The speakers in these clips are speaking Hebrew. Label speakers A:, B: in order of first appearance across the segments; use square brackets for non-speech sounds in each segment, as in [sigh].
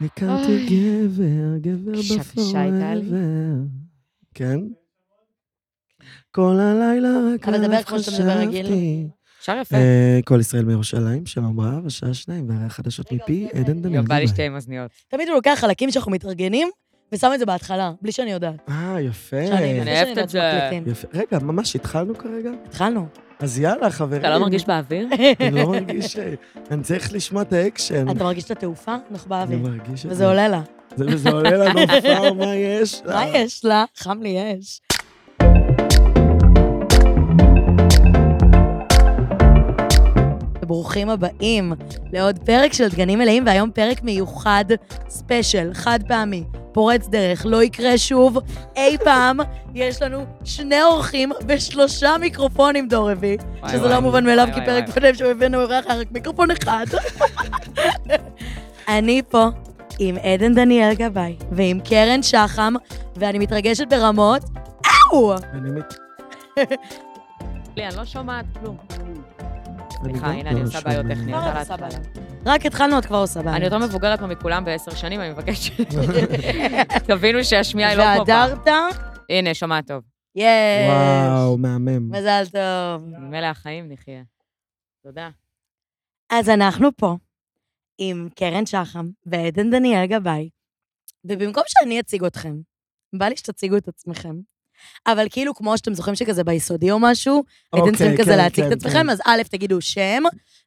A: הכרתי
B: אוי.
A: גבר, גבר
B: אישה קשה הייתה לי.
A: בפורבר. כן? כל הלילה רק
B: אבל דבר
A: עליו
B: כמו שאתה מדבר רגיל. כן.
A: חשבתי.
B: שר יפה.
A: אה, כל ישראל מירושלים, שלום רב, השעה שניים, והחדשות
B: רגע, אוקיי,
A: מפי,
B: עושה את
A: עדן
B: זה.
A: דניאל.
C: גם בא לי
A: ביי.
C: שתי עם אוזניות.
B: תמיד הוא לוקח חלקים שאנחנו מתארגנים, ושם את זה בהתחלה, בלי שאני יודעת.
A: אה, יפה.
B: שאני-
C: אני
B: שאני
C: אוהבת
B: יודעת
C: את זה.
B: שמקליטים.
A: יפה. רגע, ממש התחלנו כרגע?
B: התחלנו.
A: אז יאללה, חברים.
C: אתה לא מרגיש [laughs] באוויר?
A: אני לא מרגיש... אה, אני צריך לשמוע את האקשן.
B: אתה מרגיש את התעופה? אנחנו
A: אני
B: באוויר.
A: מרגיש את
B: וזה עולה לה.
A: זה- וזה עולה
B: [laughs]
A: לנו כבר, מה יש? אה, לה?
B: מה יש לה? חם לי יש. ברוכים הבאים לעוד פרק של דגנים מלאים, והיום פרק מיוחד, ספיישל, חד פעמי, פורץ דרך, לא יקרה שוב אי פעם. יש לנו שני אורחים ושלושה מיקרופונים דור רביעי,
C: וואי,
B: שזה
C: וואי.
B: לא מובן מאליו,
C: וואי,
B: כי
C: וואי,
B: פרק
C: וואי.
B: קודם שהבאנו אורח היה רק מיקרופון אחד. [laughs] אני פה עם עדן דניאל גבאי ועם קרן שחם, ואני מתרגשת ברמות. אאו!
A: אני מת-
C: לי, אני לא שומעת כלום.
A: אני
C: סליחה,
A: גם
C: הנה, אני
A: לא
C: עושה בעיות
A: שומע.
C: טכניות.
B: כבר את עושה בעיה. רק התחלנו, את כבר עושה בעיה.
C: אני יותר מבוגרת מכולם בעשר שנים, אני מבקשת. [laughs] תבינו שהשמיעה היא לא פה. פעם.
B: והדרת?
C: הנה, שומעת טוב.
B: יש.
A: וואו, מהמם.
B: מזל טוב.
C: מילא החיים, נחיה. תודה.
B: אז אנחנו פה עם קרן שחם ועדן דניאל גבאי, ובמקום שאני אציג אתכם, בא לי שתציגו את עצמכם, אבל כאילו כמו שאתם זוכרים שכזה ביסודי או משהו, הייתם
A: אוקיי,
B: צריכים כזה
A: כן,
B: להציג את
A: כן,
B: עצמכם, אז א', תגידו שם,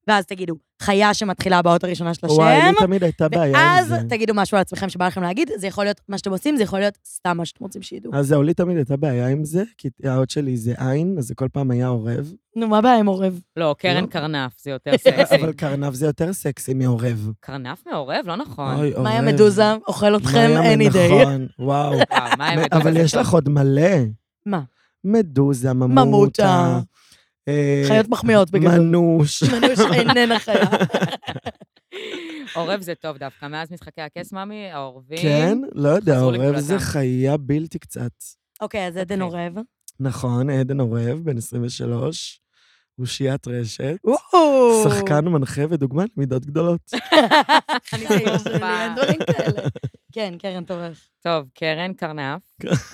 B: ואז תגידו חיה שמתחילה באות הראשונה של
A: כן. וואי,
B: השם,
A: לי תמיד הייתה בעיה עם
B: ואז
A: זה.
B: תגידו משהו על עצמכם שבא לכם להגיד, זה יכול להיות מה שאתם עושים, זה יכול להיות סתם מה שאתם רוצים שידעו.
A: אז זהו, לי תמיד הייתה בעיה עם זה, כי האות שלי זה עין, אז זה כל פעם היה עורב.
B: נו, מה הבעיה עם עורב?
C: לא, קרן
A: לא.
C: קרנף, זה [laughs] יותר
B: אה,
C: סקסי.
A: אבל קרנף זה יותר סקסי מעורב.
C: קרנף מעורב? לא נכון.
A: אוי, עורב.
B: מאיה מדוזה, אוכל אתכם
A: מאיה
B: any day. אה,
A: נכון,
B: [laughs]
A: וואו.
C: וואו, מה האמת?
A: אבל יש לך עוד מלא.
B: מה?
A: מדוזה,
B: ממוטה.
A: ממוטה. אה,
B: חיות מחמיאות בגדול. [laughs]
A: מנוש.
B: מנוש
A: [laughs]
B: איננה חיה.
C: עורב זה טוב דווקא. מאז משחקי הכס, ממי, העורבים.
A: כן? לא יודע,
C: חזרו
A: עורב זה
C: לגבולתם.
A: חיה בלתי קצת.
B: אוקיי, אז עדן עורב.
A: נכון, עדן עורב, בן 23, אושיית רשת.
B: וואו.
A: שחקן, מנחה ודוגמן למידות
C: [laughs]
A: גדולות.
B: אני
C: טובה.
A: [laughs]
B: שלי, אין דברים כאלה. כן, קרן תורך.
C: טוב, קרן קרנף,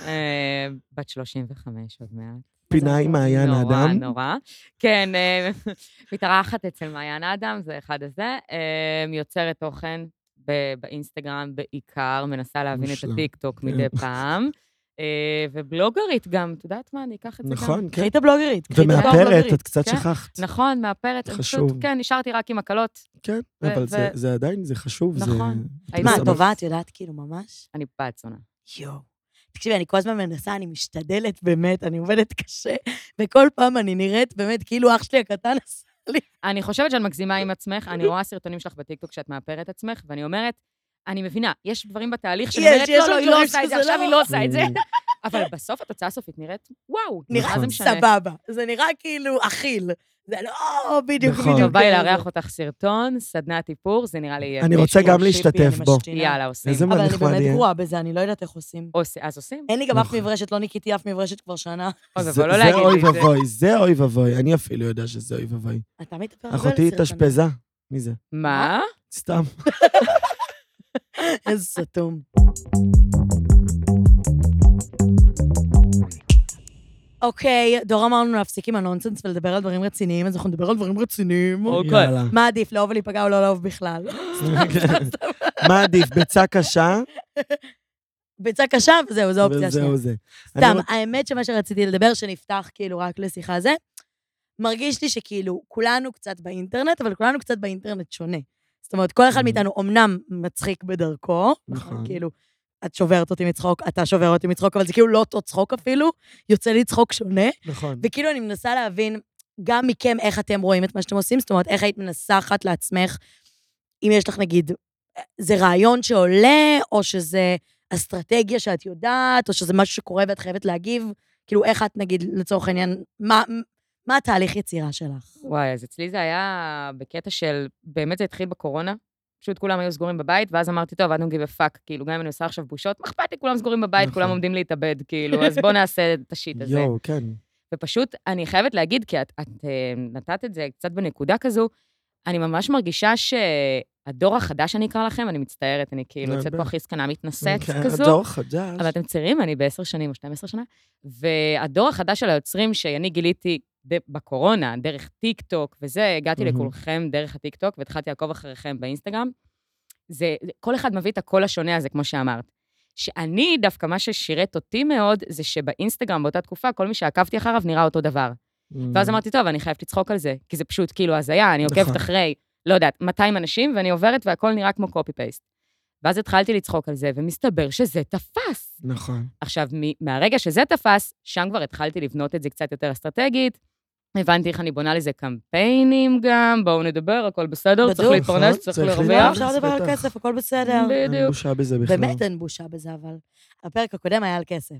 C: אה, בת 35 עוד מעט.
A: פינה עם מעיין
C: נורא,
A: האדם.
C: נורא, נורא. כן, אה, [laughs] מתארחת אצל מעיין האדם, זה אחד הזה. אה, יוצרת תוכן ב- באינסטגרם בעיקר, מנסה להבין את
A: מושלם,
C: הטיקטוק
A: כן.
C: מדי פעם. אה, ובלוגרית גם, את יודעת מה, אני אקח את זה גם.
A: נכון, כן.
B: קחי את הבלוגרית. קחי את
A: ומאפרת,
B: הבלוגרית.
A: את קצת
C: כן.
A: שכחת.
C: נכון, מאפרת. אני פשוט,
A: חשוב.
C: כן, נשארתי רק עם הקלות.
A: כן,
C: ו-
A: אבל זה-
C: ו-
A: זה עדיין, זה חשוב. זה-
C: נכון.
A: זה
B: מה,
A: בסדר.
B: את טובה? את יודעת כאילו ממש?
C: אני בת זונה.
B: יואו. תקשיבי, אני כל הזמן מנסה, אני משתדלת באמת, אני עובדת קשה, וכל פעם אני נראית באמת כאילו אח שלי הקטן עשה.
C: אני חושבת שאת מגזימה עם עצמך, אני רואה סרטונים שלך בטיקטוק שאת מאפרת את עצמך, ואני אומרת, אני מבינה, יש דברים בתהליך שאני
B: יש,
C: אומרת,
B: יש
C: לא,
B: שם
C: לא, היא
B: דברים
C: לא עושה את זה,
B: שזה
C: עכשיו
B: לא."
C: היא לא עושה את זה.
A: Mm.
C: אבל בסוף התוצאה הסופית נראית, וואו,
A: נכון.
B: נראה
C: מה זה משנה.
B: סבבה. זה נראה כאילו אכיל. זה לא בדיוק
A: נכון.
B: בדיוק.
C: טוב, בא לי
B: כזה.
C: לארח אותך סרטון, סדנת איפור, זה נראה לי... יהיה
A: אני
C: כיף.
A: רוצה גם
B: שיפי,
A: להשתתף
B: אני
A: בו.
B: משתינה.
C: יאללה, עושים.
A: איזה
B: אבל אני
A: נחמד
B: באמת
A: יהיה.
B: גרועה בזה, אני לא יודעת איך עושים.
C: עושה- אז עושים?
B: אין לי גם אף
A: נכון.
B: מברשת, לא ניקיתי אף מברשת כבר שנה.
C: אוי,
A: זה-
C: אבל לא
A: זה
C: להגיד
A: אוי
C: לי את זה.
A: ואבוי, זה אוי ואבוי. אני אפילו יודע שזה אוי ואבוי.
B: אתה מתאפר הרבה על
A: אחותי
B: סרטונים.
A: התאשפזה. מי זה?
C: מה?
A: סתם.
B: איזה סתום. אוקיי, דור אמר לנו להפסיק עם הנונסנס ולדבר על דברים רציניים, אז אנחנו נדבר על דברים רציניים.
C: אוקיי.
A: יאללה.
B: מה עדיף, לאהוב ולהיפגע או לא לאהוב בכלל?
A: [laughs] מה עדיף, ביצה קשה?
B: ביצה קשה, וזהו, זו האופציה השנייה.
A: וזהו זה. אני לא-
B: סתם,
A: רוצ-
B: האמת שמה שרציתי לדבר, שנפתח כאילו רק לשיחה זה, מרגיש לי שכאילו כולנו קצת באינטרנט, אבל כולנו קצת באינטרנט שונה. זאת אומרת, כל אחד
A: Mhm.
B: מאיתנו אומנם מצחיק בדרכו, נכון?
A: נכון.
B: כאילו, את שוברת אותי מצחוק, אתה שובר אותי מצחוק, אבל זה כאילו לא אותו צחוק אפילו, יוצא לי צחוק שונה,
A: נכון.
B: וכאילו אני מנסה להבין גם מכם איך אתם רואים את מה שאתם עושים, זאת אומרת, איך היית מנסחת לעצמך, אם יש לך נגיד, זה רעיון שעולה, או שזה אסטרטגיה שאת יודעת, או שזה משהו שקורה ואת חייבת להגיב, כאילו איך את נגיד, לצורך העניין, מה, מה התהליך יצירה שלך?
C: וואי, אז אצלי זה היה בקטע של, באמת זה התחיל בקורונה. פשוט כולם היו סגורים בבית, ואז אמרתי, טוב, I don't give a fuck, כאילו, גם אם אני עושה עכשיו בושות, מה אכפת לי, כולם סגורים בבית,
A: נכון.
C: כולם עומדים להתאבד, כאילו, אז בואו נעשה את השיט הזה.
A: יואו, כן.
C: ופשוט, אני חייבת להגיד, כי את, את אה, נתת את זה קצת בנקודה כזו, אני ממש מרגישה שאת הדור החדש אני אקרא לכם, אני מצטערת, אני כאילו
A: לא,
C: יוצאת
A: ב-
C: פה הכי זקנה מתנשאת
A: כן,
C: כזו.
A: הדור חדש.
C: אבל אתם צעירים, אני בעשר שנים או 12 שנה. והדור החדש של היוצרים, שאני גיליתי ד- בקורונה, דרך טיק טוק וזה, הגעתי
A: מהמם.
C: לכולכם דרך הטיק טוק, והתחלתי לעקוב אחריכם באינסטגרם. זה, זה- כל אחד מביא את הקול השונה הזה, כמו שאמרת. שאני, דווקא מה ששירת אותי מאוד, זה שבאינסטגרם באותה תקופה, כל מי שעקבתי אחריו נראה אותו דבר.
A: Mm,
C: ואז אמרתי, טוב, אני חייבת לצחוק על זה, כי זה פשוט כאילו הזיה, אני עוקבת
A: נכון.
C: אחרי, לא יודעת, 200 אנשים, ואני עוברת והכל נראה כמו קופי-פייסט. ואז התחלתי לצחוק על זה, ומסתבר שזה תפס.
A: נכון.
C: עכשיו, מ- מהרגע שזה תפס, שם כבר התחלתי לבנות את זה קצת יותר אסטרטגית. הבנתי איך אני בונה לזה קמפיינים גם, בואו נדבר, הכל בסדר, צריך
B: בדיוק.
C: להתפרנס,
A: נכון,
C: צריך
A: צריך
C: להרוויח.
A: להתפרנס.
B: לא, אפשר לדבר על
A: בטח.
B: כסף, הכל בסדר.
A: אין
C: בדיוק.
A: בושה בזה בכלל.
B: באמת אין בושה בזה, אבל הפרק הקודם היה על כסף.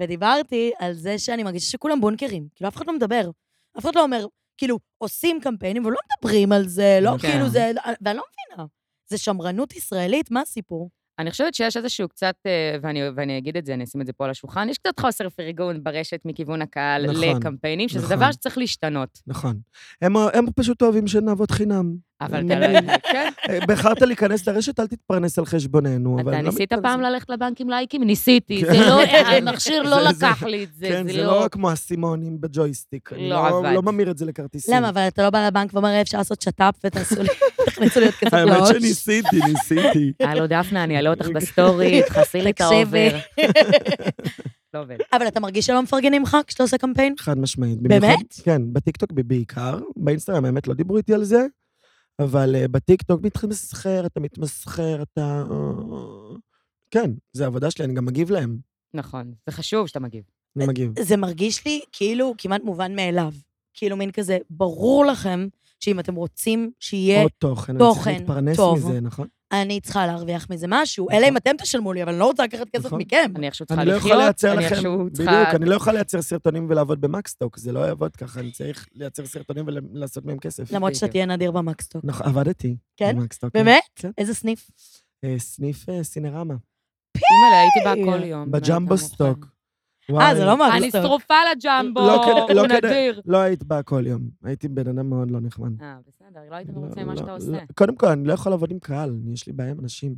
B: ודיברתי על זה שאני מרגישה שכולם בונקרים, כאילו אף אחד לא מדבר. אף אחד לא אומר, כאילו, עושים קמפיינים ולא מדברים על זה, לא
C: כן.
B: כאילו זה, ואני לא מבינה. זה שמרנות ישראלית? מה הסיפור?
C: אני חושבת שיש איזשהו קצת, אה, ואני, ואני אגיד את זה, אני אשים את זה פה על השולחן, יש קצת חוסר פרגון ברשת מכיוון הקהל
A: נכון,
C: לקמפיינים, שזה
A: נכון.
C: דבר שצריך להשתנות.
A: נכון. הם הם פשוט אוהבים שנעבוד חינם.
C: אבל
A: הם-
C: אתה לא... [laughs] כן.
A: אה, בחרת להיכנס לרשת, אל תתפרנס על חשבוננו. אבל
C: אתה
A: אני לא
C: ניסית
A: מתפרנס-
C: פעם ללכת לבנק עם לייקים? ניסיתי.
A: כן.
C: זה
A: [laughs]
C: לא, המכשיר לא
A: זה- זה-
C: לקח לי את זה,
A: כן, זה לא כמו האסימונים בג'ויסטיק. אני
C: לא עבד.
A: לא ממיר את זה לכרטיסים.
B: למה, אבל אתה לא בא לבנק ואומר, "אה, אפשר לעשות שת"פ ותעשו לי, תכניסו לי עוד
A: [laughs]
B: כסף
A: האמת
B: לראש? [laughs]
A: שניסיתי, ניסיתי. [laughs]
C: הלו, דפנה, אני אעלה אותך בסטורי, תכסי לי את
B: תקשיבי.
C: האובר.
A: [laughs]
C: לא עובד.
B: אבל אתה מרגיש שלא מפרגנים לך כשאתה עושה קמפיין?
A: חד משמעית.
B: באמת?
A: במיוחד- כן, בטיקטוק ב- בעיקר. באינסטגרם האמת לא דיברו איתי על זה, אבל אה, בטיקטוק מתמסחר, אתה מתמסחר, אתה... אה, כן, זה העבודה שלי, אני גם מגיב להם.
C: נכון, זה חשוב שאתה מגיב.
B: אה,
A: אני מגיב.
B: זה מרגיש לי כאילו כמעט מובן מאליו. כאילו מין כזה, ברור לכם שאם אתם רוצים שיהיה,
A: עוד תוכן, אני צריך
B: אה, תוכן
A: להתפרנס
B: טוב.
A: מזה, נכון?
B: אני צריכה להרוויח מזה משהו,
A: נכון.
B: אלא אם אתם תשלמו לי, אבל אני לא רוצה לקחת כסף
A: נכון.
B: מכם.
C: אני איכשהו צריכה
A: אני לא
C: לחיות,
A: יכול לייצר
C: אני
A: לכם,
C: איכשהו צריכה...
A: בדיוק, אני לא יכול לייצר סרטונים ולעבוד במקסטוק, זה לא יעבוד ככה, אני צריך לייצר סרטונים ולעשות מהם כסף.
B: למרות שאתה
C: בדיוק.
B: תהיה נדיר במקסטוק.
A: נכון, עבדתי.
B: כן?
A: במקסטוק, כן.
B: באמת?
A: כן.
B: איזה סניף?
A: אה, סניף אה, סינרמה,
C: אימא'לה, הייתי באה
A: [laughs]
C: כל יום.
A: בג'מבו
C: הייתה מוכנה.
A: סטוק.
B: אה, זה לא
C: אני
B: מקסטוק.
C: שרופה לג'מבו,
A: לא כדאי- לא
C: הוא
A: כדאי.
C: נדיר.
A: לא היית באה כל יום, הייתי בן אדם מאוד לא נחמד.
C: אה, בסדר, לא היית
A: לא,
C: מרוצה ממה
A: לא,
C: שאתה
A: לא.
C: עושה.
A: קודם כל, אני לא יכול לעבוד עם קהל, אני- יש לי בעיה עם אנשים,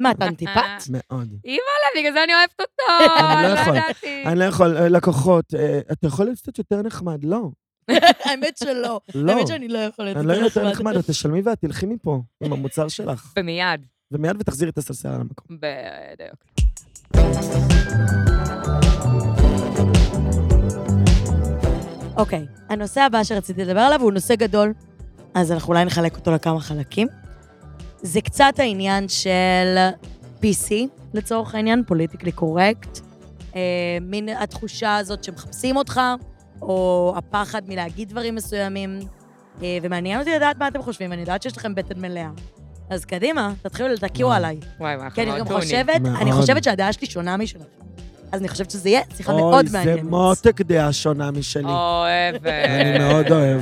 B: מה, אתה אנטיפט?
A: מאוד.
C: אה, לא, בגלל זה אני אוהבת אותו,
A: [laughs] אני לא יכול.
C: לא ידעתי.
A: אני לא יכול, אה, לקוחות, אה, אתה יכול להיות קצת יותר נחמד, לא,
B: האמת שלא.
A: לא.
B: האמת שאני לא יכולה
A: אני לא אהיה יותר נחמד, את תשלמי ואת תלכי מפה עם המוצר שלך,
C: ומיד.
A: ומיד ותחזירי את הסלסל על המקום.
C: בדיוק.
B: אוקיי, הנושא הבא שרציתי לדבר עליו הוא נושא גדול, אז אנחנו אולי נחלק אותו לכמה חלקים. זה קצת העניין של PC, לצורך העניין, פוליטיקלי קורקט. אה, מין התחושה הזאת שמחפשים אותך, או הפחד מלהגיד דברים מסוימים. אה, ומעניין אותי לדעת מה אתם חושבים, אני יודעת שיש לכם בטן מלאה. אז קדימה, תתחילו, תקיעו
A: וואו.
B: עליי.
C: וואי, מה, אנחנו
B: כי אני גם
C: מאוד טעונים.
B: חושבת, אני
A: מאוד.
B: חושבת שהדעה שלי שונה משלכם. אז אני חושבת שזה יהיה שיחה מאוד מעניינת.
A: אוי, זה מותק דעה שונה משלי.
C: אוהבת.
A: אני מאוד אוהב.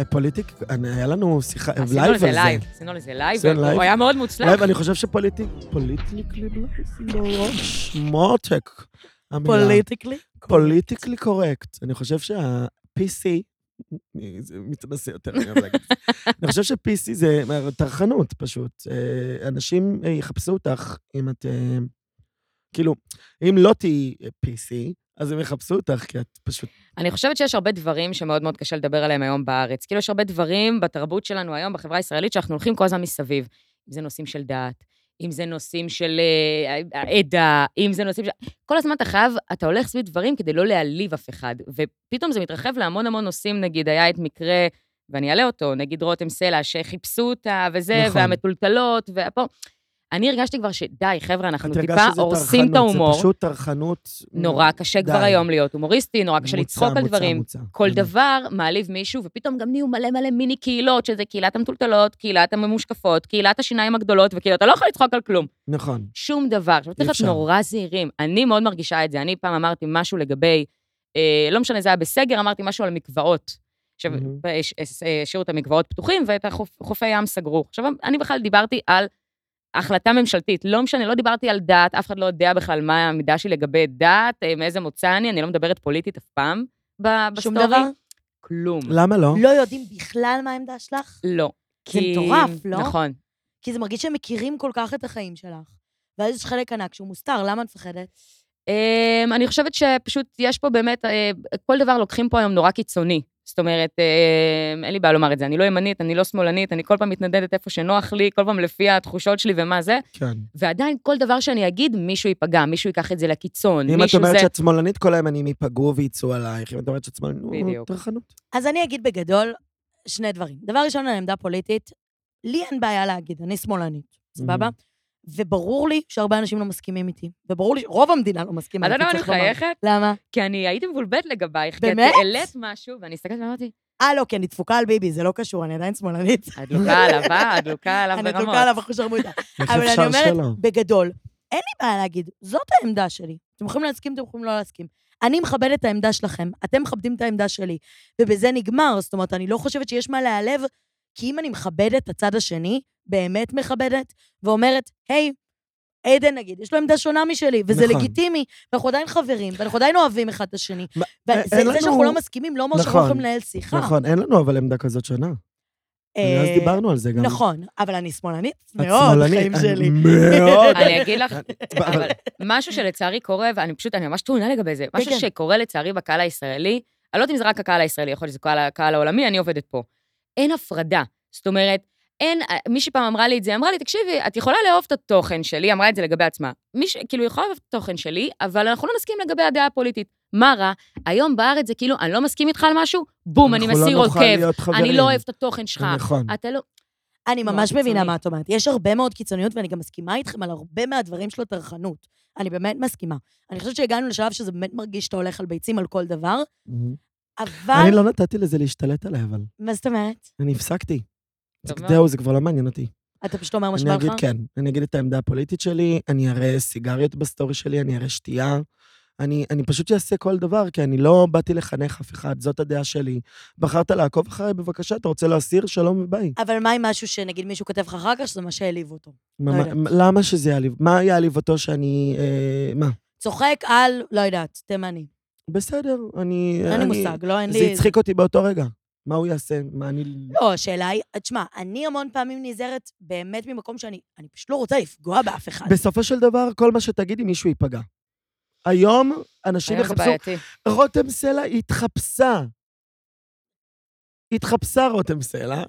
A: אה, פוליטיק, אני- היה לנו שיחה, אה,
C: עשינו
A: לייב
C: לזה
A: על זה.
C: לייב, עשינו לזה לייב,
A: עשינו לייב.
C: והוא היה מאוד מוצלח.
A: לייב, אני חושב שפוליטיק, פוליטיקלי בלייב, מותק. המילה.
B: פוליטיקלי?
A: פוליטיקלי קורקט. אני חושב שה-PC, זה מתנשא יותר, אני אוהב
C: [laughs]
A: להגיד. אני חושב ש-PC זה טרחנות פשוט. אה, אנשים אה, יחפשו אותך אם את... אה, כאילו, אם לא תהיי אה, PC, אז הם יחפשו אותך, כי את פשוט...
C: אני חושבת שיש הרבה דברים שמאוד מאוד קשה לדבר עליהם היום בארץ. כאילו, יש הרבה דברים בתרבות שלנו היום, בחברה הישראלית, שאנחנו הולכים כל הזמן מסביב. אם זה נושאים של דת, אם זה נושאים של אה, עדה, אם זה נושאים של... כל הזמן אתה חייב, אתה הולך סביב דברים כדי לא להעליב אף אחד. ופתאום זה מתרחב להמון המון נושאים, נגיד, היה את מקרה, ואני אעלה אותו, נגיד רותם סלע, שחיפשו אותה וזה,
A: נכון.
C: והמטולטלות, ופה. אני הרגשתי כבר שדי, חבר'ה, אנחנו
A: את הרגשת
C: כאילו, טיפה
A: שזה
C: הורסים את
A: טרחנות, זה
C: ההומור.
A: פשוט טרחנות.
C: נורא קשה
A: די.
C: כבר היום להיות הומוריסטי, נורא קשה
A: מוצא,
C: לצחוק על
A: מוצא,
C: דברים.
A: מוצא. Mm-hmm.
C: כל
A: באמת.
C: דבר מעליב מישהו, ופתאום גם נהיו מלא מלא מיני קהילות, שזה קהילת המטולטלות, קהילת הממושקפות, קהילת השיניים הגדולות, וכאילו, אתה לא יכול לצחוק על כלום.
A: נכון.
C: שום דבר. עכשיו, צריך להיות
A: אפשר.
C: נורא זהירים. אני מאוד מרגישה את זה. אני פעם אמרתי משהו לגבי, אה, לא משנה, זה היה בסגר, אמרתי משהו על מקוואות. עכשיו,
A: מהמם.
C: אה, ש- אה, השאירו את המקוואות פתוחים, ואת החופ- חופי ים סגרו. עכשיו, אני בכלל דיברתי על החלטה ממשלתית. לא משנה, לא דיברתי על דת, אף אחד לא יודע בכלל מה העמידה שלי לגבי דת, אה, מאיזה מוצא אני, אני לא מדברת פוליטית אף פעם. ב-
B: שום
C: בסטורי.
B: דבר?
C: כלום.
A: למה לא?
B: לא יודעים בכלל מה העמדה שלך?
C: לא.
B: זה מטורף, לא?
C: נכון.
B: כי זה מרגיש שהם מכירים כל כך את החיים שלך. ואז יש חלק ענק שהוא מוסתר, למה את מפחדת?
C: אמ, אני חושבת שפשוט יש פה באמת, אה, כל דבר לוקחים פה היום נורא קיצוני. זאת אומרת, אמ, אין לי בעיה לומר את זה, אני לא ימנית, אני לא שמאלנית, אני כל פעם מתנדדת איפה שנוח לי, כל פעם לפי התחושות שלי ומה זה,
A: כן.
C: ועדיין כל דבר שאני אגיד, מישהו ייפגע, מישהו ייקח את זה לקיצון,
A: אם את
C: מישהו
A: אומרת
C: זה...
A: שאת שמאלנית, כל הימנים ייפגעו ויצאו עלייך. אם את אומרת שאת שמאלנית, נו,
C: בדיוק.
A: טרחנות.
B: אז אני אגיד בגדול שני דברים. דבר ראשון, על עמדה פוליטית, לי אין בעיה להגיד, אני שמאלנית, סבבה? וברור לי שהרבה אנשים לא מסכימים איתי, וברור לי שרוב המדינה לא מסכימה
C: אתה
B: איתי,
C: יודע למה אני
B: צריך לומר.
C: מחייכת?
B: למה?
C: כי אני הייתי מבולבלת לגבייך. כי את
B: באמת?
C: העלית משהו, ואני הסתכלת ואמרתי,
B: אה, לא, כי אני דפוקה על ביבי, זה לא קשור, אני עדיין שמאלנית.
C: את דלוקה עליו, אה? את דלוקה עליו
B: [laughs] אני
C: ברמות.
B: דפוקה עליו אחוז שרמוטה.
A: איך
B: אבל אני
A: אפשר
B: אומרת,
A: שלא?
B: בגדול, אין לי בעיה להגיד, זאת העמדה שלי. אתם יכולים להסכים, אתם יכולים לא להסכים. אני מכבדת את העמדה שלכם, אתם מכבדים את העמדה שלי, ובזה נגמר. זאת אומרת, אני לא חושבת שיש מה להיעלב, כי אם אני מכבדת את הצד השני, באמת מכבדת, ואומרת, היי, עדן נגיד, יש לו עמדה שונה משלי, וזה
A: נכון.
B: לגיטימי, ואנחנו עדיין חברים, ואנחנו עדיין אוהבים אחד את השני.
A: מה-
B: וזה
A: אין
B: זה
A: לנו-
B: שאנחנו לא מסכימים, לא אומר שאנחנו
A: נכון,
B: יכולים לנהל שיחה.
A: נכון, אין לנו אבל עמדה כזאת שונה.
B: אה,
A: אז דיברנו על זה גם.
B: נכון, אבל אני שמאלנית
A: את
B: מאוד
A: שמאלנית,
B: בחיים
A: אני-
B: שלי.
A: מאוד.
C: [laughs] אני אגיד לך,
A: אבל-
C: אבל משהו שלצערי קורה, ואני פשוט, אני ממש טעונה לגבי זה, משהו
B: כן.
C: שקורה לצערי בקהל הישראלי, אני לא יודעת אם זה רק הקהל הישראלי, יכול להיות שזה קהל- הקהל העולמי, אני עובדת פה. אין הפרדה. זאת אומרת, אין, אה, מישהי פעם אמרה לי את זה, אמרה לי, תקשיבי, את יכולה לאהוב את התוכן שלי, אמרה את זה לגבי עצמה. מי ש... כאילו, היא יכולה לאהוב את התוכן שלי, אבל אנחנו לא נסכים לגבי הדעה הפוליטית. מה רע? היום בארץ זה כאילו, אני לא מסכים איתך על משהו, בום, אני
A: אנחנו לא
C: מסיר
A: נוכל
C: עוקב,
A: להיות
C: אני
A: חברים.
C: לא אוהב את התוכן שלך.
A: נכון.
C: אתה לא...
B: אני
C: מאוד
B: ממש מבינה
C: קיצוני.
B: מה את אומרת. יש הרבה מאוד קיצוניות, ואני גם מסכימה איתכם על הרבה מהדברים של הטרחנות. אני באמת מסכימה. אני חושבת שהגענו לשלב שזה באמת מרגיש שאתה הולך על ביצים על כל דבר, אבל...
A: אני לא נתתי לזה להשתלט עליי, אבל.
B: מה זאת אומרת?
A: אני הפסקתי.
C: טוב מאוד.
A: זהו, זה כבר לא מעניין אותי.
B: אתה פשוט אומר מה
A: אני
B: שבא לך?
A: אגיד כן, אני אגיד את העמדה הפוליטית שלי, אני אראה סיגריות בסטורי שלי, אני אראה שתייה. אני, אני פשוט אעשה כל דבר, כי אני לא באתי לחנך אף אחד, זאת הדעה שלי. בחרת לעקוב אחריי, בבקשה, אתה רוצה להסיר? שלום וביי.
B: אבל מה עם משהו שנגיד מישהו כותב לך אחר כך, שזה מה שהעליב אותו?
A: מה-
B: יודעת.
A: מה- למה שזה יעליב? מה יעליב אותו שאני... אה, מה?
B: צוחק על, לא יודעת, תימני.
A: בסדר, אני...
B: אין לי מושג, לא, אין לי...
A: זה הצחיק אותי באותו רגע. מה הוא יעשה? מה אני...
B: לא, השאלה היא, תשמע, אני המון פעמים נזהרת באמת ממקום שאני, אני פשוט לא רוצה לפגוע באף אחד.
A: בסופו של דבר, כל מה שתגידי, מישהו ייפגע. היום אנשים
C: היום זה
A: יחפשו...
C: בעייתי.
A: רותם סלע התחפשה. התחפשה רותם סלע.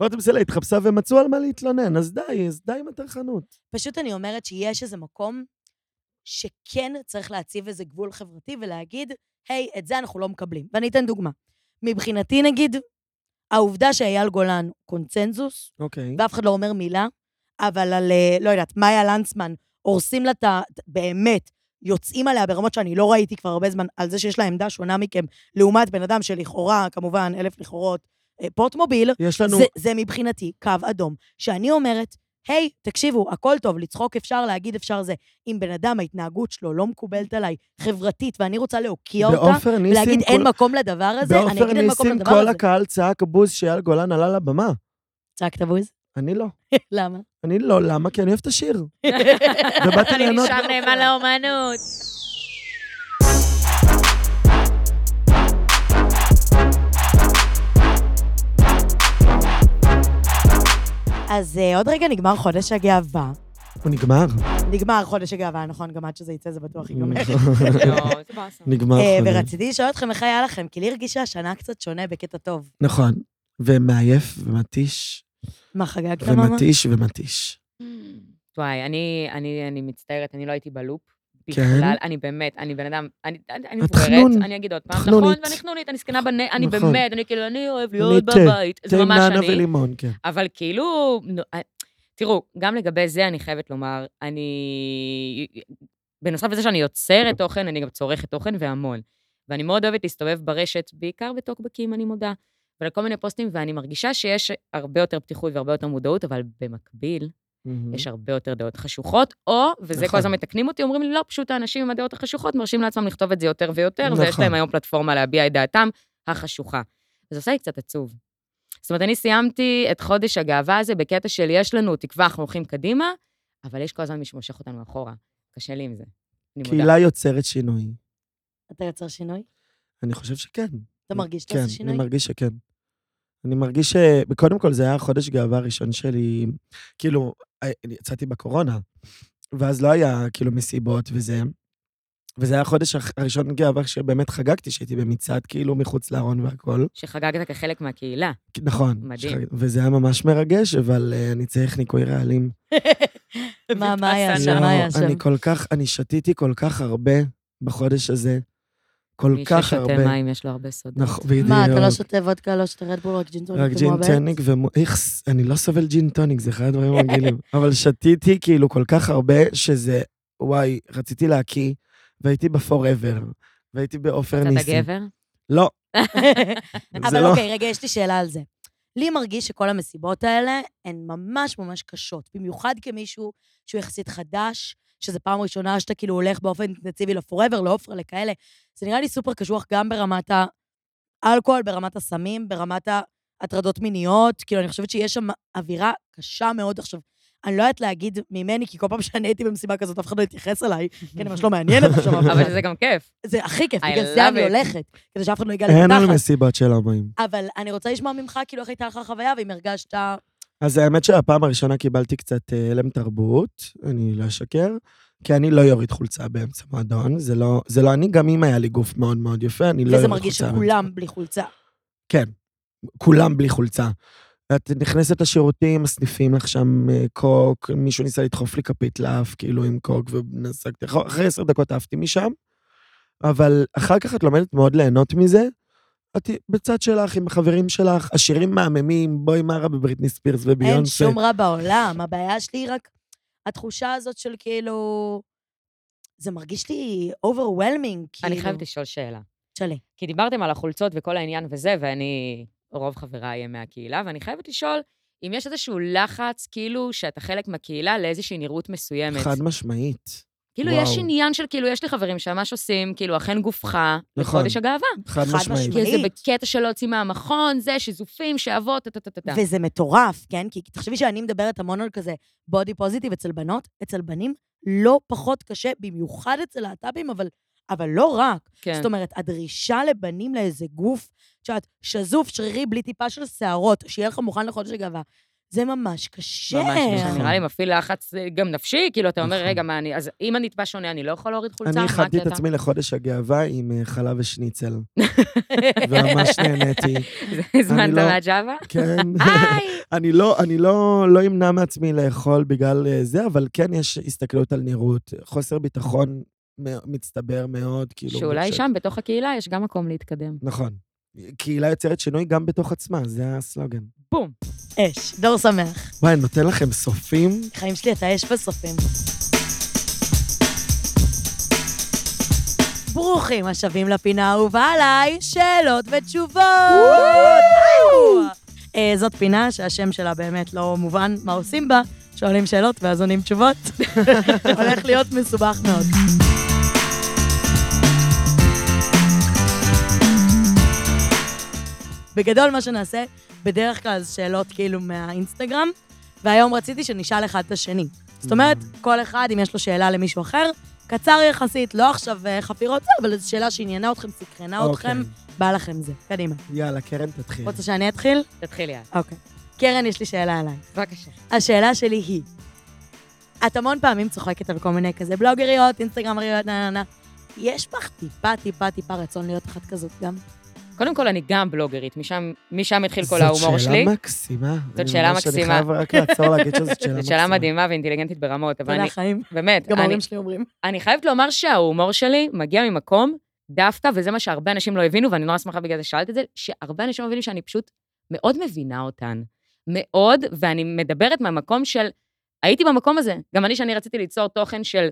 A: רותם סלע התחפשה ומצאו על מה להתלונן, אז די, אז די עם הטרחנות.
B: פשוט אני אומרת שיש איזה מקום שכן צריך להציב איזה גבול חברתי ולהגיד, היי, את זה אנחנו לא מקבלים. ואני אתן דוגמה. מבחינתי, נגיד, העובדה שאייל גולן הוא קונצנזוס,
A: אוקיי.
B: ואף אחד לא אומר מילה, אבל על, אה, לא יודעת, מאיה לנצמן, הורסים לה את ה... באמת, יוצאים עליה ברמות שאני לא ראיתי כבר הרבה זמן, על זה שיש לה עמדה שונה מכם, לעומת בן אדם שלכאורה, כמובן, אלף לכאורות, אה, פוטמוביל,
A: יש לנו...
B: זה, זה מבחינתי קו אדום, שאני אומרת, היי, תקשיבו, הכל טוב, לצחוק אפשר, להגיד אפשר זה. אם בן אדם, ההתנהגות שלו לא מקובלת עליי, חברתית, ואני רוצה להוקיע אותה,
A: בעופר ניסים...
B: ולהגיד אין
A: כל-
B: מקום לדבר הזה, אני
A: בעופר
B: אגיד אין מקום
A: ניסים
B: לדבר
A: כל
B: הזה.
A: הקהל צעק בוז שאייל גולן עלה לבמה.
B: צעקת בוז?
A: אני לא.
B: [laughs] למה?
A: אני לא, למה? כי אני אוהב את השיר. ובאתי
C: אני
A: ליהנות
C: נשאר נאמן
A: בעופר.
C: לאומנות.
B: [laughs] אז אה, עוד רגע נגמר חודש הגאווה.
A: הוא נגמר.
B: נגמר חודש הגאווה, נכון? גם עד שזה יצא זה
A: [laughs]
B: בטוח [laughs] ייגמר.
C: לא, זה באסה.
A: נגמר.
B: אה,
A: חודש.
B: ורציתי לשאול אתכם איך היה לכם, כי לי הרגישה השנה קצת שונה בקטע טוב.
A: נכון. ומעייף ומתיש.
B: מה, חגגת ממש?
A: ומתיש ומתיש.
C: וואי, אני, אני, אני מצטערת, אני לא הייתי בלופ.
A: כן?
C: בכלל, אני באמת, אני בן אדם, אני, אני אני
A: את חנון.
C: מבוגרת, אני אגיד עוד פעם, נכון,
A: חנונית.
C: ואני חנונית, אני זקנה בנ... אני
A: נכון.
C: באמת, אני כאילו, אני אוהב
A: אני
C: להיות
A: תה,
C: בבית,
A: תה
C: זה
A: עם
C: ממש
A: נענה
C: אני,
A: ולימון, כן.
C: אבל כאילו, נו, אה, תראו, גם לגבי זה אני חייבת לומר, אני, בנוסף לזה שאני יוצרת תוכן, אני גם צורכת תוכן והמון, ואני מאוד אוהבת להסתובב ברשת, בעיקר בטוקבקים, אני מודה, ולכל מיני פוסטים, ואני מרגישה שיש הרבה יותר פתיחות והרבה יותר מודעות, אבל במקביל, יש הרבה יותר דעות חשוכות, או, וזה
A: Mm-hmm. נכון.
C: כל הזמן מתקנים אותי, אומרים לי, לא, פשוט האנשים עם הדעות החשוכות מרשים לעצמם לכתוב את זה יותר ויותר, ויש
A: נכון.
C: להם היום פלטפורמה להביע את דעתם החשוכה. זה עושה לי קצת עצוב. זאת אומרת, אני סיימתי את חודש הגאווה הזה בקטע של יש לנו תקווה, אנחנו הולכים קדימה, אבל יש כל הזמן מי שמושך אותנו אחורה. קשה לי עם זה. אני מודה.
A: קהילה יוצרת שינוי.
B: אתה יוצר שינוי?
A: אני חושב שכן.
B: אתה מרגיש שאתה
A: כן,
B: עושה
A: אני
B: שינוי?
A: מרגיש שכן. אני מרגיש שקודם כל זה היה חודש גאווה הראשון שלי, כאילו, אה, אני יצאתי בקורונה, ואז לא היה כאילו מסיבות וזה. וזה היה החודש הח- הראשון גאווה שבאמת חגגתי, שהייתי במצעד כאילו מחוץ לארון והכל.
C: שחגגת כחלק מהקהילה.
A: נכון.
C: מדהים.
A: שחג- וזה היה ממש מרגש, אבל אה, אני צריך ניקוי רעלים.
B: מה- מה היה
C: ויפאסנה.
B: שם? מה היה
A: אני
B: שם?
A: כל כך, אני שתיתי כל כך הרבה בחודש הזה. כל
C: מי
A: כך
C: ששותה
A: הרבה.
C: מים, יש לו הרבה סודות.
A: נכון, בדיוק.
B: מה, אתה לא שותה וודקה, לא שותה רדבול, רק ג'ינטוניק
A: רק ג'ין טניק ומו... איכס, אני לא סובל ג'ין טוניק, זה אחד הדברים הרגילים. אבל שתיתי כאילו כל כך הרבה, שזה, וואי, רציתי להקיא, והייתי בפוראבר, והייתי בעופר
C: אתה
A: ניסים. [laughs]
C: גבר?
A: לא. זה
B: [laughs] אבל
A: לא...
B: אוקיי, רגע, יש לי שאלה על זה. לי מרגיש שכל המסיבות האלה הן ממש ממש קשות, במיוחד כמישהו שהוא יחסית חדש, שזה פעם ראשונה שאתה כאילו הולך באופן אינטנסיבי לפוראבר, לעופרה, לכאלה. זה נראה לי סופר קשוח גם ברמת האלכוהול, ברמת הסמים, ברמת ההטרדות מיניות. כאילו, אני חושבת שיש שם אווירה קשה מאוד עכשיו. אני לא יודעת להגיד ממני, כי כל פעם שאני הייתי במסיבה כזאת, אף אחד לא התייחס אליי, כי אני ממש לא מעניינת עכשיו.
C: [laughs]
B: אף
C: אבל
B: אחד.
C: זה גם כיף.
B: זה הכי כיף,
C: I
B: בגלל זה אני
C: love it.
B: הולכת, כדי שאף אחד לא ייגע לי
A: אין
B: מתחת.
A: על מסיבות של המאים.
B: אבל אני רוצה לשמוע ממך, כאילו, איך הייתה לך החוויה, ואם
A: לא,
B: הרגשת...
A: אז האמת שהפעם הראשונה קיבלתי קצת אה, הלם תרבות, אני לא אשקר, כי אני לא יוריד חולצה באמצע מועדון, זה לא, זה לא אני, גם אם היה לי גוף מאוד מאוד יפה, אני לא
B: וזה
A: יוריד
B: מרגיש
A: חולצה.
B: שכולם בלי חולצה.
A: כן, כולם בלי חולצה. את נכנסת לשירותים, מסניפים לך שם אה, קוק, מישהו ניסה לדחוף לי כפית לאף, כאילו עם קוק, ונסקתי, אחר- אחרי עשר דקות עפתי משם, אבל אחר כך את לומדת מאוד ליהנות מזה. את בצד שלך, עם החברים שלך, השירים מהממים, בואי מה רע בבריטני ספירס וביונסה.
B: אין שום רע בעולם, הבעיה שלי היא רק התחושה הזאת של כאילו... זה מרגיש לי overwhelming, כאילו.
C: אני חייבת לשאול שאלה.
B: תשאלי.
C: כי דיברתם על החולצות וכל העניין וזה, ואני, רוב חבריי הם מהקהילה, ואני חייבת לשאול אם יש איזשהו לחץ, כאילו, שאתה חלק מהקהילה לאיזושהי נראות מסוימת.
A: חד משמעית.
C: כאילו,
A: וואו.
C: יש עניין של, כאילו, יש לי חברים שממש עושים, כאילו, אכן גופך,
A: נכון.
C: לחודש הגאווה.
A: חד
B: חד
A: משמעית.
B: משמעית.
C: כי זה בקטע שלא יוצאים מהמכון, זה, שזופים, שאבות, טה-טה-טה-טה.
B: וזה מטורף, כן? כי תחשבי שאני מדברת המון על כזה בודי פוזיטיב אצל בנות, אצל בנים לא פחות קשה, במיוחד אצל להט"בים, אבל, אבל לא רק.
C: כן.
B: זאת אומרת, הדרישה לבנים לאיזה גוף, את יודעת, שזוף, שרירי, בלי טיפה של שערות, שיהיה לך מוכן לחודש הגאווה, זה ממש קשה.
C: ממש,
A: נכון.
C: זה נראה לי מפעיל לחץ אה, גם נפשי, כאילו, אתה אומר,
A: נכון.
C: רגע, מה אני, אז אם אני טיפה שונה, אני לא יכול להוריד חולצה?
A: אני
C: מה
A: הכנתי את
C: הקטע? [laughs]
A: עצמי לחודש הגאווה עם אה, חלב ושניצל. וממש נהניתי.
C: זה הזמנת
A: לא- [laughs]
C: מהג'אווה?
A: כן.
C: היי!
A: [laughs] אני לא, אני לא, לא אמנע מעצמי לאכול בגלל אה, זה, אבל כן יש הסתכלות על נראות, חוסר ביטחון מ- מצטבר מאוד, כאילו.
C: שאולי
A: ש-
C: שם, בתוך הקהילה, יש גם מקום להתקדם.
A: נכון. קהילה יוצרת שינוי גם בתוך עצמה, זה הסלוגן.
C: בום.
B: אש, דור שמח.
A: וואי, אני נותן לכם סופים?
B: חיים שלי, אתה אש בסופים. ברוכים השבים לפינה האהובה עליי, שאלות ותשובות! אה, זאת פינה שהשם שלה באמת לא מובן מה עושים בה, שואלים שאלות ואז עונים תשובות. [laughs] הולך להיות מסובך מאוד. בגדול מה שנעשה, בדרך כלל זה שאלות כאילו מהאינסטגרם, והיום רציתי שנשאל אחד את השני. זאת אומרת, כל אחד, אם יש לו שאלה למישהו אחר, קצר יחסית, לא עכשיו אה, חפירות זה, אבל זו שאלה שעניינה אתכם, סקרנה
A: אוקיי.
B: אתכם, בא לכם זה. קדימה.
A: יאללה, קרן תתחיל.
B: רוצה שאני אתחיל?
C: תתחילי את.
B: אוקיי. קרן, יש לי שאלה עליי.
C: בבקשה.
B: השאלה שלי היא, את המון פעמים צוחקת על כל מיני כזה בלוגריות, אינסטגרמריות, נה נה נה. יש בך טיפה, טיפה, טיפה רצון להיות אחת כזאת גם?
C: קודם כל, אני גם בלוגרית, משם, משם התחיל כל ההומור
A: זאת
C: שלי.
A: שאלה מקסימה. אני
C: שאלה
A: ממש-
C: מקסימה.
A: אני חייב רק לעצור להגיד שזאת שאלה מקסימה.
C: [laughs] זאת שאלה מדהימה ואינטליגנטית ברמות, אבל
B: תודה,
C: אני,
B: חיים.
C: באמת,
B: גם
C: אני,
B: ההורים שלי אומרים.
C: אני חייבת לומר שההומור שלי מגיע ממקום דווקא, וזה מה שהרבה אנשים לא הבינו, ואני נורא שמחה בגלל זה שאלת את זה, שהרבה אנשים לא מבינים שאני פשוט מאוד מבינה אותן. מאוד, ואני מדברת מהמקום של... הייתי במקום הזה. גם אני, שאני רציתי ליצור תוכן של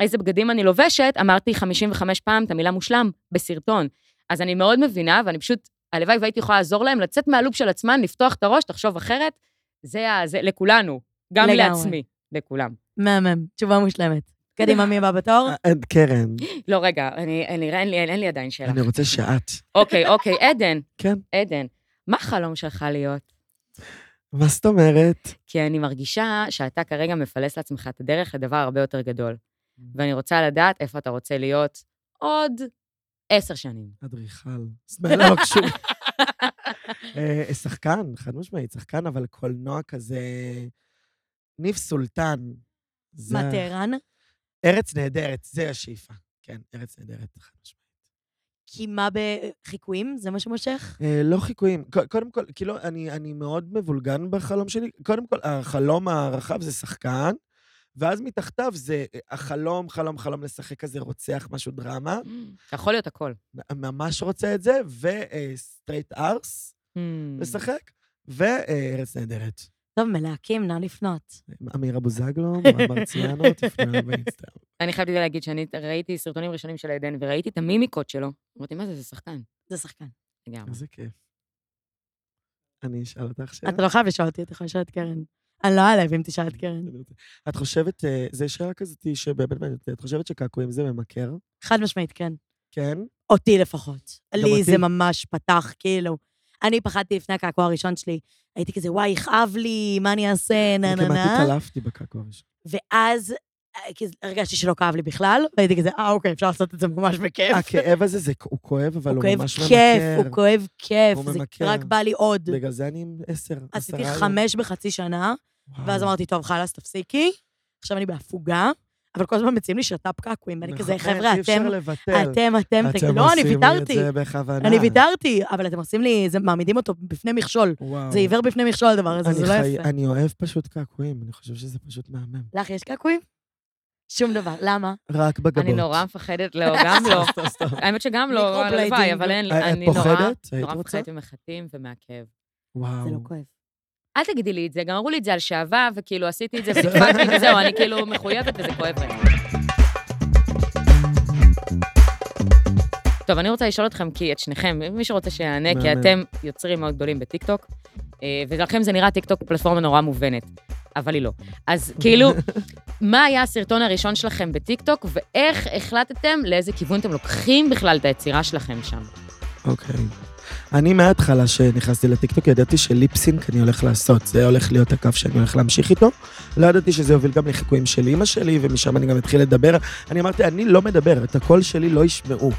C: איזה בגדים אני לובשת, אמרתי 55 פעם את המילה מושלם בסרטון. אז אני מאוד מבינה, ואני פשוט, הלוואי והייתי יכולה לעזור להם לצאת מהלופ של עצמן, לפתוח את הראש, תחשוב אחרת, זה, ה- זה לכולנו, גם
B: לגמרי.
C: לעצמי, לכולם.
B: מהמם, תשובה מושלמת. קדימה, מי הבא בתור?
A: אה, אה, קרן,
C: לא, רגע, אני, אני, אין, לי, אין לי עדיין שאלה.
A: אני רוצה שאת.
C: אוקיי, אוקיי, עדן,
A: כן.
C: עדן, מה החלום שלך להיות?
A: מה זאת אומרת?
C: כי אני מרגישה שאתה כרגע מפלס לעצמך את הדרך לדבר הרבה יותר גדול.
A: Mm.
C: ואני רוצה לדעת איפה אתה רוצה להיות עוד עשר שנים.
A: אדריכל. לא, שוב. [laughs] אה, שחקן, חד משמעית, שחקן, אבל קולנוע כזה... ניף סולטן. זה-
B: מה, טהרן?
A: ארץ נהדרת, זה השאיפה. כן, ארץ נהדרת, חד משמעית.
B: כי מה בחיקויים? זה מה שמושך?
A: אה, לא חיקויים. ק- קודם כל, כאילו, אני, אני מאוד מבולגן בחלום שלי. קודם כל, החלום הרחב זה שחקן, ואז מתחתיו זה אה, החלום, חלום, חלום לשחק כזה רוצח, משהו דרמה.
C: אתה יכול להיות הכל.
A: ממש רוצה את זה, וסטרייט ארס
B: Mm.
A: לשחק, וארץ נהדרת.
B: טוב, מלהקים, נא לפנות.
A: אמירה
B: [laughs]
A: בוזגלו, מורן מרציאנו, תפנה באינסטגרם.
C: אני חייבת להגיד שאני ראיתי סרטונים ראשונים של עדן, וראיתי את המימיקות שלו. אמרתי, מה זה, זה שחקן.
B: זה שחקן.
C: לגמרי.
A: איזה כיף. אני אשאל אותך שאלה.
B: אתה לא חייב לשאול אותי, אתה יכול לשאול את קרן. אני לא אעלב אם תשאל את קרן.
A: אני רוצה- את חושבת, אה, זו שאלה כזאת שבאמת מעניינת, אותי, את חושבת שקעקועים זה ממכר?
B: חד משמעית, כן.
A: כן?
B: אותי לפחות.
A: גם
B: לי זה
A: אותי.
B: ממש פתח, כאילו. אני פחדתי לפני הקעקוע הראשון שלי. הייתי כזה, וואי, יכאב לי, מה אני אעשה, נה
A: אני
B: נה
A: כמעט
B: נה.
A: התעלפתי בקעקוע הראשון.
B: ואז אה, כי הרגשתי שלא כאב לי בכלל, והייתי כזה, אה, אוקיי, אפשר לעשות את זה ממש בכיף.
A: הכאב הזה, זה- הוא כואב, אבל
B: הוא
A: הוא
B: כואב
A: אה, כאילו, ממש לא
B: כיף,
A: ממכר.
B: הוא כואב כיף,
A: הוא
B: זה
A: ממכר.
B: רק בא לי עוד.
A: בגלל זה אני עם עשר, עשרה. אה.
B: עשיתי
A: היום.
B: חמש בחצי שנה,
A: וואו.
B: ואז אמרתי, טוב, חלאס, תפסיקי, עכשיו אני בהפוגה, אבל כל הזמן מציעים לי שת"פ קעקועים, ואני כזה,
A: נכון,
B: חבר'ה,
A: אי אפשר
B: אתם,
A: לבטל.
B: אתם, אתם, תגידו, לא, אני
A: עושים לי את
B: ויתרתי,
A: זה בכוונה.
B: אני ויתרתי, אבל אתם עושים לי, זה מעמידים אותו בפני מכשול.
A: וואו.
B: זה עיוור בפני מכשול הדבר הזה,
A: אה. אני
B: זה לא
A: חי-
B: יפה.
A: אני אוהב פשוט קעקועים, אני חושב שזה פשוט מהמם.
B: לך יש קעקועים? שום דבר, למה?
A: רק בגבות.
C: אני נורא מפחדת, לא, גם לא.
A: [laughs] סתם, סתם.
C: האמת שגם לא,
B: מיקרופלייטינג.
C: הלוואי, אבל אין לי,
A: אה, את
C: אני נורא,
A: פוחדת? היית
C: נורא
A: רוצה?
C: מפחדת ממחטים ומהכאב.
A: וואו.
B: זה לא כואב.
C: אל תגידי לי את זה, גם אמרו לי את זה על שעווה, וכאילו עשיתי את זה ופקפקתי וזהו, אני כאילו מחויבת וזה כואב לי. טוב, אני רוצה לשאול אתכם, כי את שניכם, מי שרוצה שיענה, כי
A: מהמם.
C: אתם יוצרים מאוד גדולים בטיקטוק, אה, ולכם זה נראה טיקטוק פלטפורמה נורא מובנת, אבל היא לא. אז כאילו, מה היה הסרטון הראשון שלכם בטיקטוק, ואיך החלטתם לאיזה כיוון אתם לוקחים בכלל את היצירה שלכם שם?
A: אוקיי. אני מההתחלה שנכנסתי לטיקטוק ידעתי שליפסינק אני הולך לעשות, זה הולך להיות הקו שאני הולך להמשיך איתו. לא ידעתי שזה יוביל גם לחיקויים של אימא שלי, ומשם אני גם אתחיל לדבר. אני אמרתי, אני לא מדבר, את הקול שלי לא ישמעו.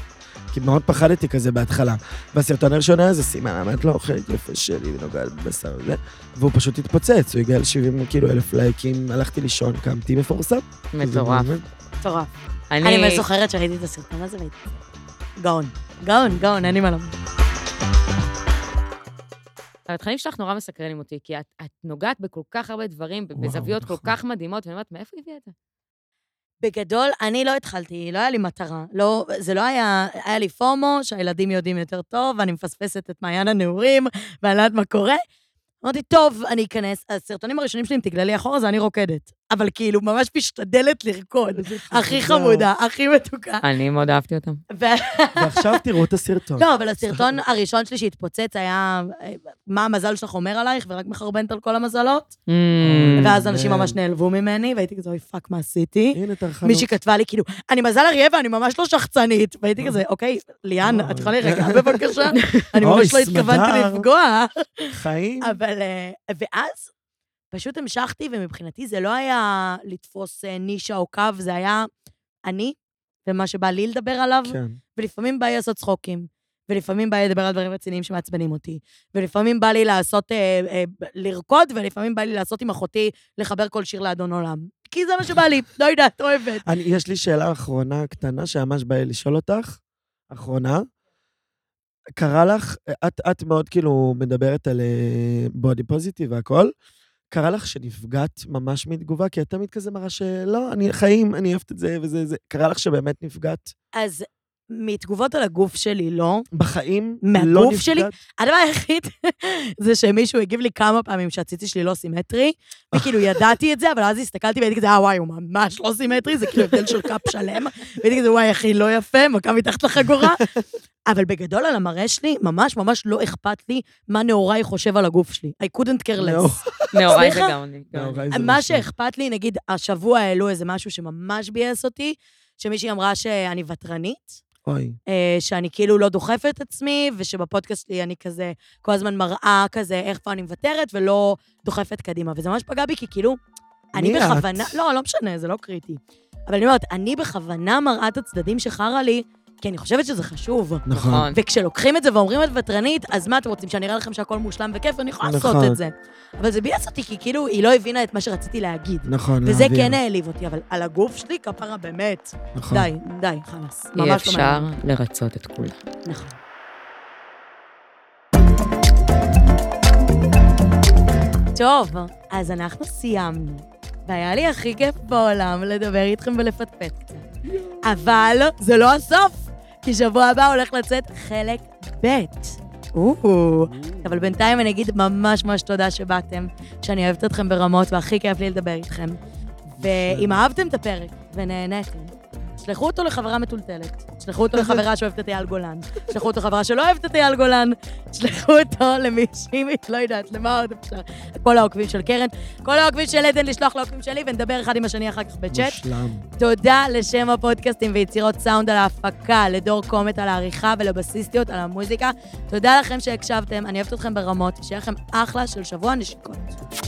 A: כי מאוד פחדתי כזה בהתחלה. והסרטון הראשון היה זה סימן, אמרת לו, אוכלת יפה שלי ונוגעת בבשר וזה, והוא פשוט התפוצץ, הוא הגיע ל-70 כאילו אלף לייקים, הלכתי לישון, קמתי מפורסם.
C: מטורף.
B: מטורף. אני באמת זוכרת שראיתי את הסרטון הזה והייתי... גאון. גאון, גאון, אין לי מה לומר.
C: התכנים שלך נורא מסקרנים אותי, כי את, את נוגעת בכל כך הרבה דברים,
A: וואו,
C: בזוויות כל
A: נכון.
C: כך מדהימות, ואני אומרת, מאיפה היא הביאה את זה?
B: בגדול, אני לא התחלתי, לא היה לי מטרה. לא, זה לא היה, היה לי פומו, שהילדים יודעים יותר טוב, ואני מפספסת את מעיין הנעורים, ואני לא יודעת מה קורה. אמרתי, טוב, אני אכנס. הסרטונים הראשונים שלי עם תגללי אחורה זה אני רוקדת. אבל כאילו, ממש משתדלת לרקוד. הכי חמודה, הכי מתוקה.
C: אני מאוד אהבתי אותם.
A: נכון. [laughs]
B: ו-
A: ועכשיו תראו את הסרטון.
B: לא, אבל הסרטון הראשון שלי שהתפוצץ היה אה, מה המזל שלך אומר עלייך, ורק מחרבנת על כל המזלות.
C: Mm,
B: ואז אנשים
A: כן.
B: ממש נעלבו ממני, והייתי כזה, אוי, פאק, מה עשיתי?
A: הנה, טרחנות.
B: מישהי כתבה לי, כאילו, אני מזל אריה ואני ממש לא שחצנית.
A: אה.
B: והייתי כזה, אוקיי, ליאן, את יכולה להירגע
A: [laughs]
B: בבקשה? אני
A: אוי,
B: ממש לא התכוונתי
A: סמדר.
B: לפגוע.
A: חיים.
B: אבל, אה, ואז פשוט המשכתי, ומבחינתי זה לא היה לתפוס אה, נישה או קו, זה היה אני, ומה שבא לי לדבר עליו,
A: כן.
B: ולפעמים בא לי לעשות צחוקים. ולפעמים בא לי לדבר על דברים רציניים שמעצבנים אותי. ולפעמים בא לי לעשות, אה, אה, ב- לרקוד, ולפעמים בא לי לעשות עם אחותי לחבר כל שיר לאדון עולם. כי זה מה שבא לי, לא יודעת, אוהבת.
A: אני, יש לי שאלה אחרונה קטנה שממש בא לי לשאול אותך, אחרונה. קרה לך, את, את מאוד כאילו מדברת על בודי פוזיטיב והכל, קרה לך שנפגעת ממש מתגובה? כי את תמיד כזה מראה שלא, אני חיים, אני אוהבת את זה וזה, זה. קרה לך שבאמת נפגעת?
B: אז מתגובות על הגוף שלי, לא.
A: בחיים לא
B: מהגוף
A: נפגעת?
B: שלי? הדבר היחיד [laughs] זה שמישהו הגיב לי כמה פעמים שהציצי שלי לא סימטרי, וכאילו ידעתי את זה, אבל אז הסתכלתי והייתי כזה, אה וואי, הוא ממש לא סימטרי, זה כאילו הבדל של קאפ שלם. והייתי כזה, וואי, אחי, לא יפה, מכה מתחת לחגורה. אבל בגדול על המראה שלי, ממש ממש לא אכפת לי מה נאורי חושב על הגוף שלי. I couldn't care
A: לא.
B: less.
C: נאורי זה
B: סליחה?
C: גאוני.
A: נאורי זה
B: מה
A: משהו.
B: שאכפת לי, נגיד, השבוע העלו איזה משהו שממש ביאס אותי, שמישהי אמרה שאני ותרנית.
A: אוי,
B: אה, שאני כאילו לא דוחפת את עצמי, ושבפודקאסט שלי אני כזה כל הזמן מראה כזה איפה אני מוותרת ולא דוחפת קדימה. וזה ממש פגע בי, כי כאילו, אני
A: מי את?
B: בכוונה... לא, לא משנה, זה לא קריטי. אבל אני אומרת, אני בכוונה מראה את הצדדים שחרה לי, כי אני חושבת שזה חשוב.
A: נכון.
B: וכשלוקחים את זה ואומרים את ותרנית, אז מה אתם רוצים, שאני אראה לכם שהכל מושלם וכיף, אני יכולה לעשות
A: נכון.
B: את זה. אבל זה ביאס אותי, כי כאילו היא לא הבינה את מה שרציתי להגיד.
A: נכון,
B: וזה
A: להעביר.
B: כן העליב אותי, אבל על הגוף שלי, כפרה באמת.
A: נכון.
B: די, די, חלאס. ממש
C: אי
B: לא מעניין.
C: אפשר לרצות את כולם.
B: נכון. טוב, אז אנחנו סיימנו, והיה לי הכי כיף בעולם לדבר איתכם ולפטפט קצת. אבל זה לא הסוף, כי שבוע הבא הולך לצאת חלק ב'. או, אבל בינתיים אני אגיד ממש ממש תודה שבאתם, שאני אוהבת אתכם ברמות והכי כיף לי לדבר איתכם. ואם אהבתם את הפרק ונהניתם, שלחו אותו לחברה מטולטלת, שלחו אותו לחברה שאוהבת את אייל גולן, שלחו אותו לחברה שלא אוהבת את אייל גולן, שלחו אותו למישהי, לא יודעת, למה עוד אפשר? כל העוקבים של קרן, כל העוקבים של עדן לשלוח לעוקבים שלי, ונדבר אחד עם השני אחר כך בצ'אט.
A: מושלם.
B: תודה לשם הפודקאסטים ויצירות סאונד על ההפקה, לדור קומט על העריכה ולבסיסטיות על המוזיקה. תודה לכם שהקשבתם, אני אוהבת אתכם ברמות, שיהיה לכם אחלה של שבוע נשיקות.